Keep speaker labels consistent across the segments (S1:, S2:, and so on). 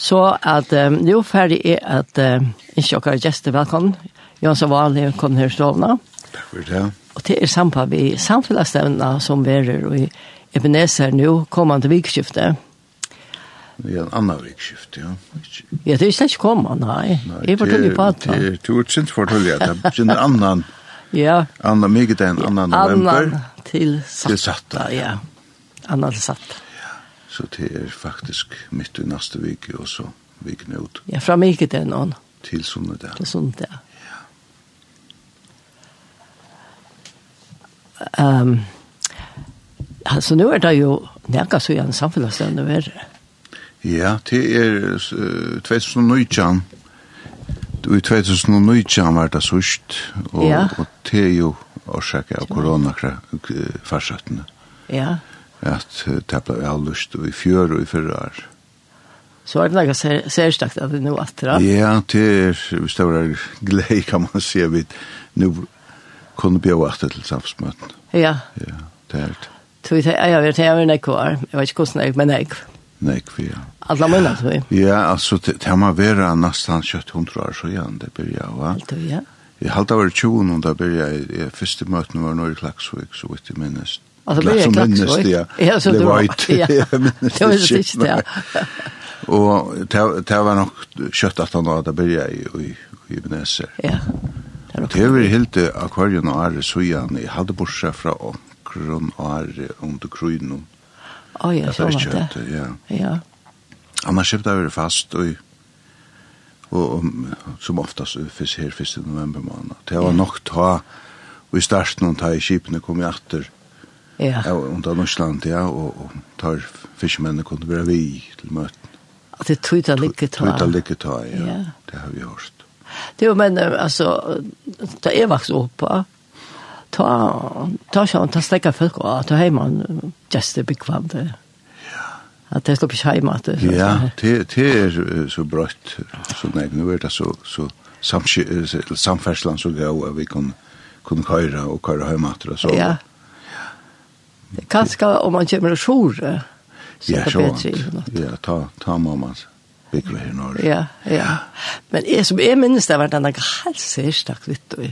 S1: Så at um, nu ferdig er at um, ikke dere gjester velkommen. Jan Savalje kom her stående.
S2: Takk for det.
S1: Og det er samtidig vi samfunnsstevnene som verer i Ebenezer nå kommende vikskiftet.
S2: Det er en annan vikskift, ja.
S1: Ja, det er slett ikke kommet, nei.
S2: Nei,
S1: Jeg forteller på at
S2: det. er- Det er utsint fortelle, ja. Det er en annan,
S1: Ja,
S2: annan, mye det er en annan
S1: annan
S2: november.
S1: til
S2: Til
S1: satt.
S2: satta.
S1: Ja, annan til satt.
S2: Så det er faktisk midt i neste vike, og så vikene ut
S1: Ja, fra mig ikke det noen.
S2: til sånne der.
S1: Det er sånt, ja. Um, altså, nå er det jo nærkast så gjerne samfunnsstevne verre.
S2: Ja, det er eh, 2019. I 2019 var det sørst, og,
S1: Ja.
S2: og det er jo årsaket av koronafarsøttene.
S1: Ja,
S2: At eh, det ble avlyst i fjør og i fyrre år.
S1: så er det noe ser, særstakt at det nå atra.
S2: Ja, det er større glede, kan man si, vi nå kunne bli åter til samfunnsmøten.
S1: Ja,
S2: Ja, det er det.
S1: tog jeg, jeg vet, jeg vet ikke hva. Jeg vet ikke hvordan jeg, men jeg.
S2: Nei, vi er.
S1: Alla munna tog jeg.
S2: Ja, altså, det, det må være nesten 1700 år så igjen, det blir jeg, va?
S1: Alt og ja.
S2: Jeg halte av 20 år, da blir jeg, jeg første møten var nå i Klaksvik, så vidt jeg minnes.
S1: Altså, blir jeg
S2: Som
S1: klaks
S2: minnes det, ja.
S1: Ja, så
S2: Det
S1: du
S2: var
S1: var.
S2: ikke-
S1: Ja,
S2: jeg minnes
S1: det var
S2: det
S1: det
S2: ikke,
S1: ikke det.
S2: Og det, det var nok 17 år, da blir jeg i, i, i Beneser.
S1: Ja. Det var
S2: Det er vel helt til akvarien og ære søgjene. Jeg hadde bortsett fra åkron og ære under krynen.
S1: Å ja,
S2: Det
S1: så
S2: var
S1: var
S2: ikke
S1: det.
S2: det, ja.
S1: Ja,
S2: Annars kjøpte jeg vel fast og, og, og som oftast fyrst her 1. november måned. Det var nok ta og i starten og ta i kipene kom jeg atter
S1: ja.
S2: ja, under Norsland, ja, og, og tar fiskemennene kunne være vi til møten.
S1: At det tog det ligge ta.
S2: Tøyta ligge ta, ja.
S1: Ja.
S2: Det har vi hørt.
S1: Det var men eh, alltså ta är vax uppa. Ta ta så ta stäcka folk och ta hem man just det bekvämt. Ja. Att det står på schema att det.
S2: Ja, det, det er eh, så brøtt, så nei, nå er det så, så samsky- eh, så- samferdslan så gau at vi kunne kunne køyra og køyra heimater og så.
S1: Ja. Det kanske om man kommer och sjor.
S2: ja, så
S1: bättre. i något.
S2: vant. Ja, ta, ta mammas bygge her når.
S1: Ja, ja. Men jeg som jeg minnes det var denne helt særstak litt og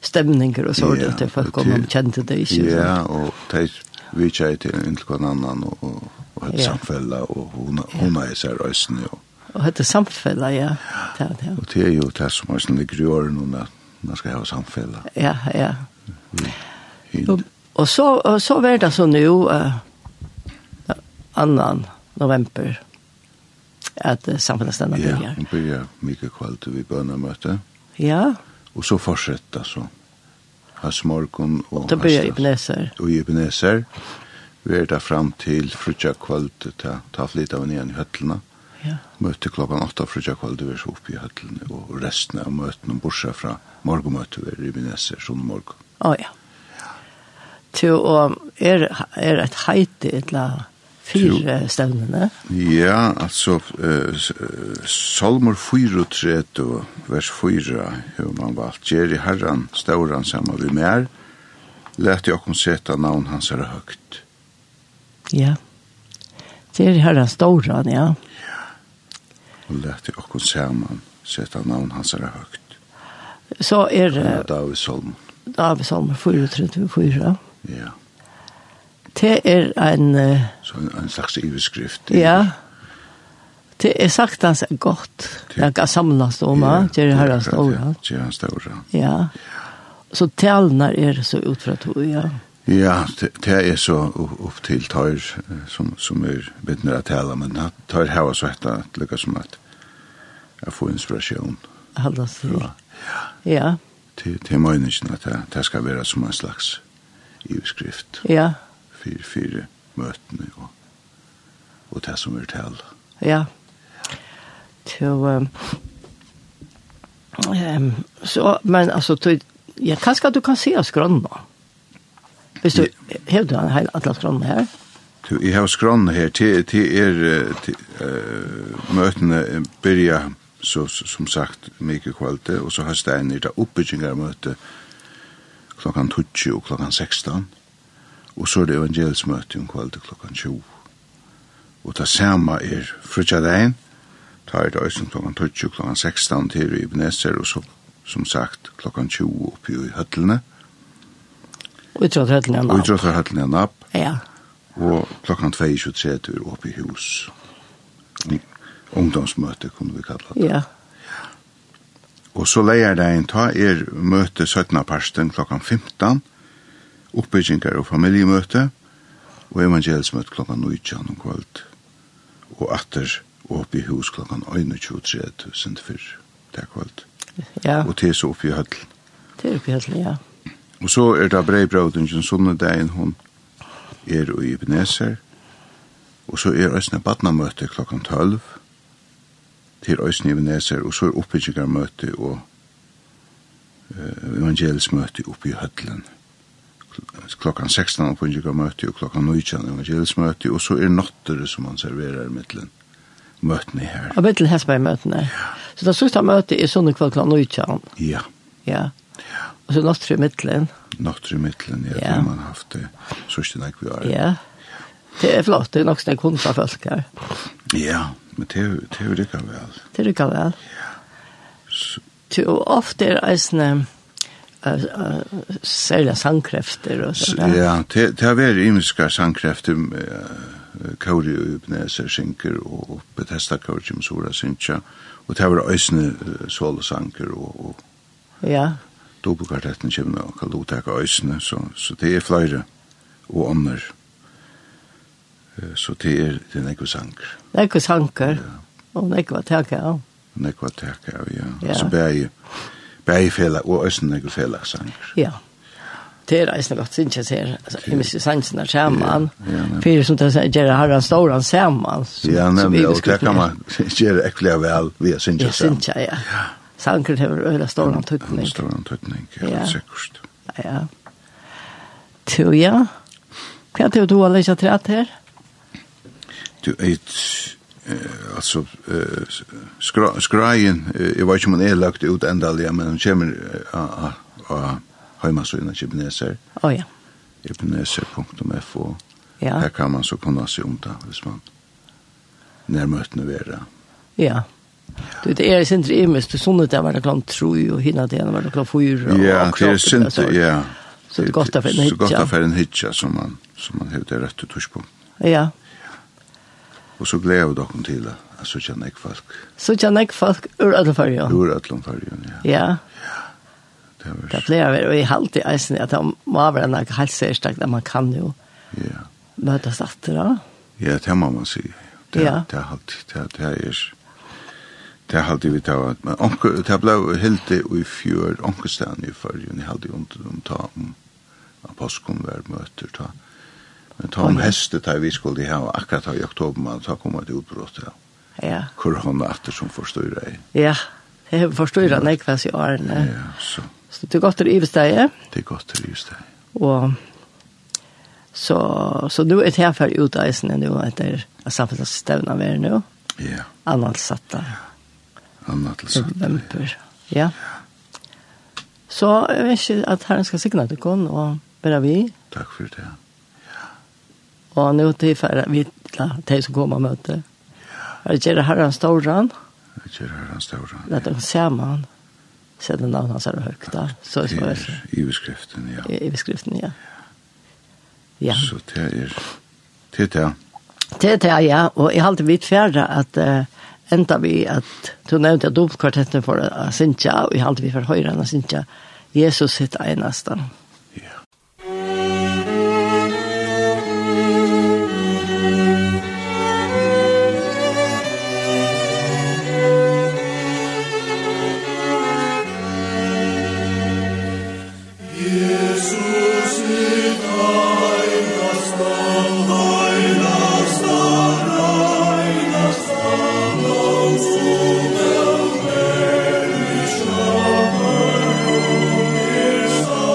S1: stemninger og sånt, at det folk om man kjente det ikke.
S2: Ja, og de vi kjei til en til hver annan og, og, og et
S1: Ja.
S2: samfella og hun, hun er i seg røysene og,
S1: Og hette samfellet, ja. Ja, ja.
S2: og det er jo det som er sånn ligger i åren og at man skal ha samfella.
S1: Ja, ja.
S2: Hint.
S1: Og, og så, og så var det så nå, uh, eh, annan november, at uh, samfunnet stendet
S2: Ja,
S1: begynner.
S2: hun byrja mye kvalt vi bønnemøte.
S1: Ja,
S2: Og så fortsätta så. Hasmorgon og
S1: da begynner
S2: Hastas-
S1: jeg Ebenezer.
S2: Og Ibenezer. Vi er der fram til frutja kvöld ta, ta flit av igjen i høttlene.
S1: Ja,
S2: Møte klokkan 8 frutja kvöld vi er så oppe i høttlene. Og resten av møtene bortsett fra morgenmøte vi er i Ibenezer sånn morgen.
S1: å ja. Til å, er, er et heite et la fire stevnene.
S2: Ja, altså, uh, Salmor 34, vers 4, hur man valgt, Gjeri Herran, stauran saman vi mer, lät jag kom seta navn hans er högt.
S1: Ja. Det er her den store, ja.
S2: og lærte okkon saman seta navn hans er høgt.
S1: Så er
S2: Han
S1: det
S2: er David Solomon.
S1: David Salmer 434.
S2: Ja.
S1: Det er en, eh,
S2: Så en, en slags iveskrift.
S1: ja, det er sagt hans godt. Jeg kan samles om, ja. Det er her den store.
S2: Det er han stora.
S1: Ja. Så talene er så ut fra to, ja.
S2: Ja, det det er så u- upp til tøyr eh, som, som er vittner at tala, men han tøyr hava så hetta lukka som at jeg får inspiration.
S1: Halda sig.
S2: Ja.
S1: Ja,
S2: Til, til møyningen at det, det skal være som en slags iveskrift
S1: ja,
S2: for fire møtene og, og det som er tala.
S1: ja. Så, ehm, ehm, så men altså, du, ja, kanskje du kan se oss grønn nå. Hvis du, hevde han hele atlas grønn her?
S2: Du, jeg har skrann her, til, til er eh, til, uh, møtene byrja, så, så- som sagt, mye kvalte, og så har Stein i det oppbyggingarmøte klokkan 20 og klokkan 16, og så er det evangelsmøte om kvalte klokkan 20. Og det samme er frutja dein, tar det øysen klokken 20, klokken 16 til i Beneser, og så, som sagt, klokken 20 oppi i høttene,
S1: Utrotthøllene
S2: og i
S1: nå.
S2: drøtterhøttene en app,
S1: Ja,
S2: og klokken 22.30 er oppi hus. Ung- Ungdomsmøte, kunne vi kalla det.
S1: ja.
S2: Og så leier det en ta er møte 17. parsten klokken 15, oppbyggingar og familiemøte, og evangelsmøte klokken 19 om um kvöld, og atter oppe i hus klokken 21.30 sin fyrr, det er kvöld.
S1: Ja,
S2: Og til så oppe i høll.
S1: det er oppe i høttene, ja.
S2: Og så er det breibrådingen, sånne dagen hun er i Ebenezer, og så er Øsne badnamøte klokken 12, til Øsne i er Ebenezer, og så er oppbyggingarmøte og eh, evangelsmøte oppe i Høtlen. Kl- Klokkan 16 oppbyggingarmøte og klokkan 19 evangelsmøte, og så er nottere som man serverer i middelen. Møtene her.
S1: Og mitt til Hesberg-møtene. Så det sørste møtet er sånn kveld klokken 19.
S2: Ja,
S1: Ja. Og så nått tre midtelen.
S2: nottere i middelen, ja,
S1: Ja.
S2: det man har haft eh, det. Sørste nek vi har.
S1: Ja. Det er flott, det er nok sånn kunder av folk her.
S2: Ja, men det er jo- det er jo det kan vel.
S1: Det rykker vel.
S2: Så-
S1: Ty- Og ofte er eisene eh, eh, særlig sangkrefter og
S2: S-
S1: sånn.
S2: Ja, det det har vært imiska sangkrefter eh, Kauri og Ubneser synker og og Bethesda Kauri som Sora synkja og det har vært øysene solosanker og, og
S1: Ja,
S2: dobbelkvartetten kommer og kan lottaka øysene så, så det er flere og ånder Eh, så det er det er nekva sanker
S1: det er ikke sangker. Og det er ikke hva tenker jeg om.
S2: nekva teka av, ja,
S1: Ja.
S2: altså bæg bæg fela og er øysene nekva fela sanker
S1: Ja. Det er eisene godt synes jeg ser. Jeg mister sansene sammen.
S2: Ja, ja, nemlig.
S1: Fyrir som det sier, gjør herren står han sammen. som-
S2: Ja,
S1: som vi
S2: nemlig, og
S1: skulle
S2: det kan
S1: kunne-
S2: man gjøre ekkert vel via
S1: Ja,
S2: synkja
S1: synes jeg, ja. Sangren har øyla stor antutning.
S2: En stor antutning,
S1: Ja.
S2: ja, sikkert.
S1: Ja. Tror jeg. Hva tror du har lyst til at her?
S2: Du eit, eh, altså, eh, skra, skraien, eh, jeg vet ikke om hun er lagt ut endalig, men hun kommer eh, av- av av heimasøyna kibineser,
S1: Å ja.
S2: kibineser.fo.
S1: Ja.
S2: Her kan man så kunne se om det, um hvis man nærmøtene vera.
S1: Ja. Du, det er sindri imes, du sånne der var det klant tru, og hinna det var det klant fyr, og
S2: Ja, det er synd, ja.
S1: Så det er godt å finne
S2: Så godt
S1: hitja.
S2: å finne hitja, som man, som man hevde rett og på.
S1: Ja.
S2: Og så gleder vi dere til det, altså kjenner jeg folk.
S1: Så kjenner jeg folk ur alle farger.
S2: Ur ætlum fargen, ja.
S1: Ja,
S2: Det
S1: det er
S2: var,
S1: flere av og jeg halte i eisen at det må være en helt særstakt, at man kan jo
S2: ja.
S1: møtes etter da.
S2: Ja, det må man si. Det,
S1: Ja.
S2: det er alltid, det, det er, det er alltid vi tar, men onke, det ble helt det i fjør, onkestaden i fargen, jeg hadde jo ikke om ta om apostkon var møter, ta. Men ta om hestet, da vi skulle ha, akkurat ta i oktober, man ta kom et utbrott, ja.
S1: Ja,
S2: Korona etter som forstyrrer jeg.
S1: ja. Jeg forstår at jeg kvass i årene.
S2: Ja, så
S1: Så det er godt å ivestege.
S2: det er godt til just det.
S1: Og så, så nu er det her for utreisende nå etter at er samfunnsstevna vi er nå.
S2: Ja,
S1: Annalsatta
S2: annet til sant.
S1: er november. Ja. Så jeg vet ikke at herren skal sikne til kon og bare vi.
S2: Takk for det.
S1: Og er nå til for vi til de som kommer og møter. Jeg vet ikke herren Storan,
S2: Jeg kjører her hans døra.
S1: at de ser man. Sette navnet hans er høyt da. Så
S2: Det
S1: så er
S2: er iveskriften, ja.
S1: det i beskriften, ja. Ja.
S2: Så det er det er det.
S1: Det er det, ja. Og jeg har alltid vidt fjerde at uh, enda vi at, du nevnte at dobbeltkvartetten for å synja, og jeg har alltid vidt for høyre enn å synja, Jesus sitt eneste.
S2: Ja.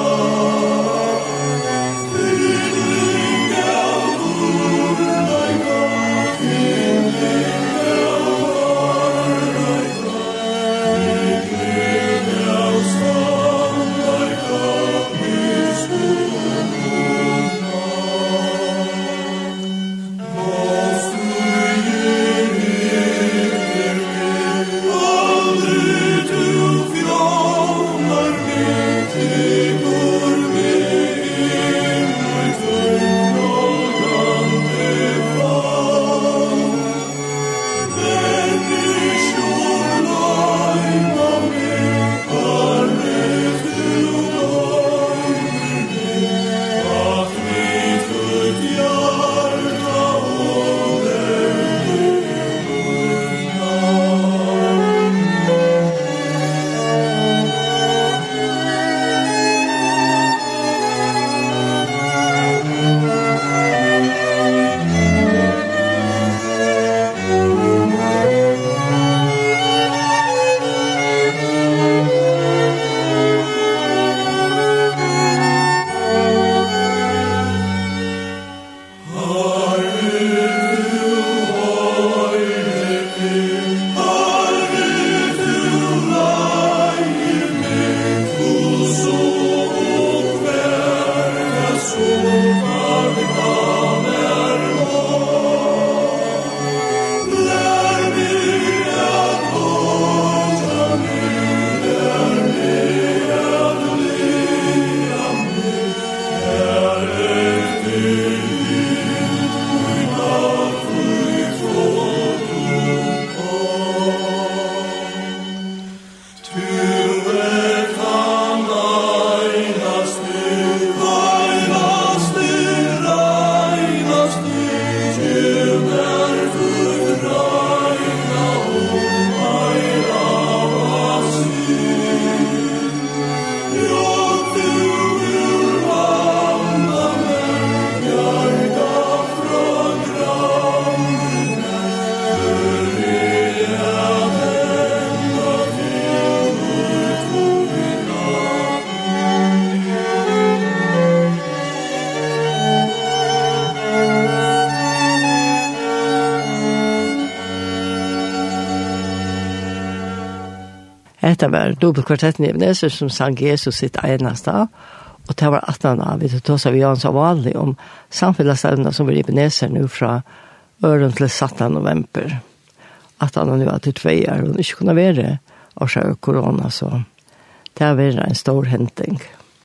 S3: Herr
S1: Hetta var dubbelkvartetten i Ebenezer som sang Jesus sitt eneste. Og det var 18 av, vi tog oss av Jans av Valli om samfellesstevna som var i Ebenezer nu fra øren til 17 november. 18 av nu var til tvei er, år, og ikke kunne være av seg korona, så det var en er stor henting.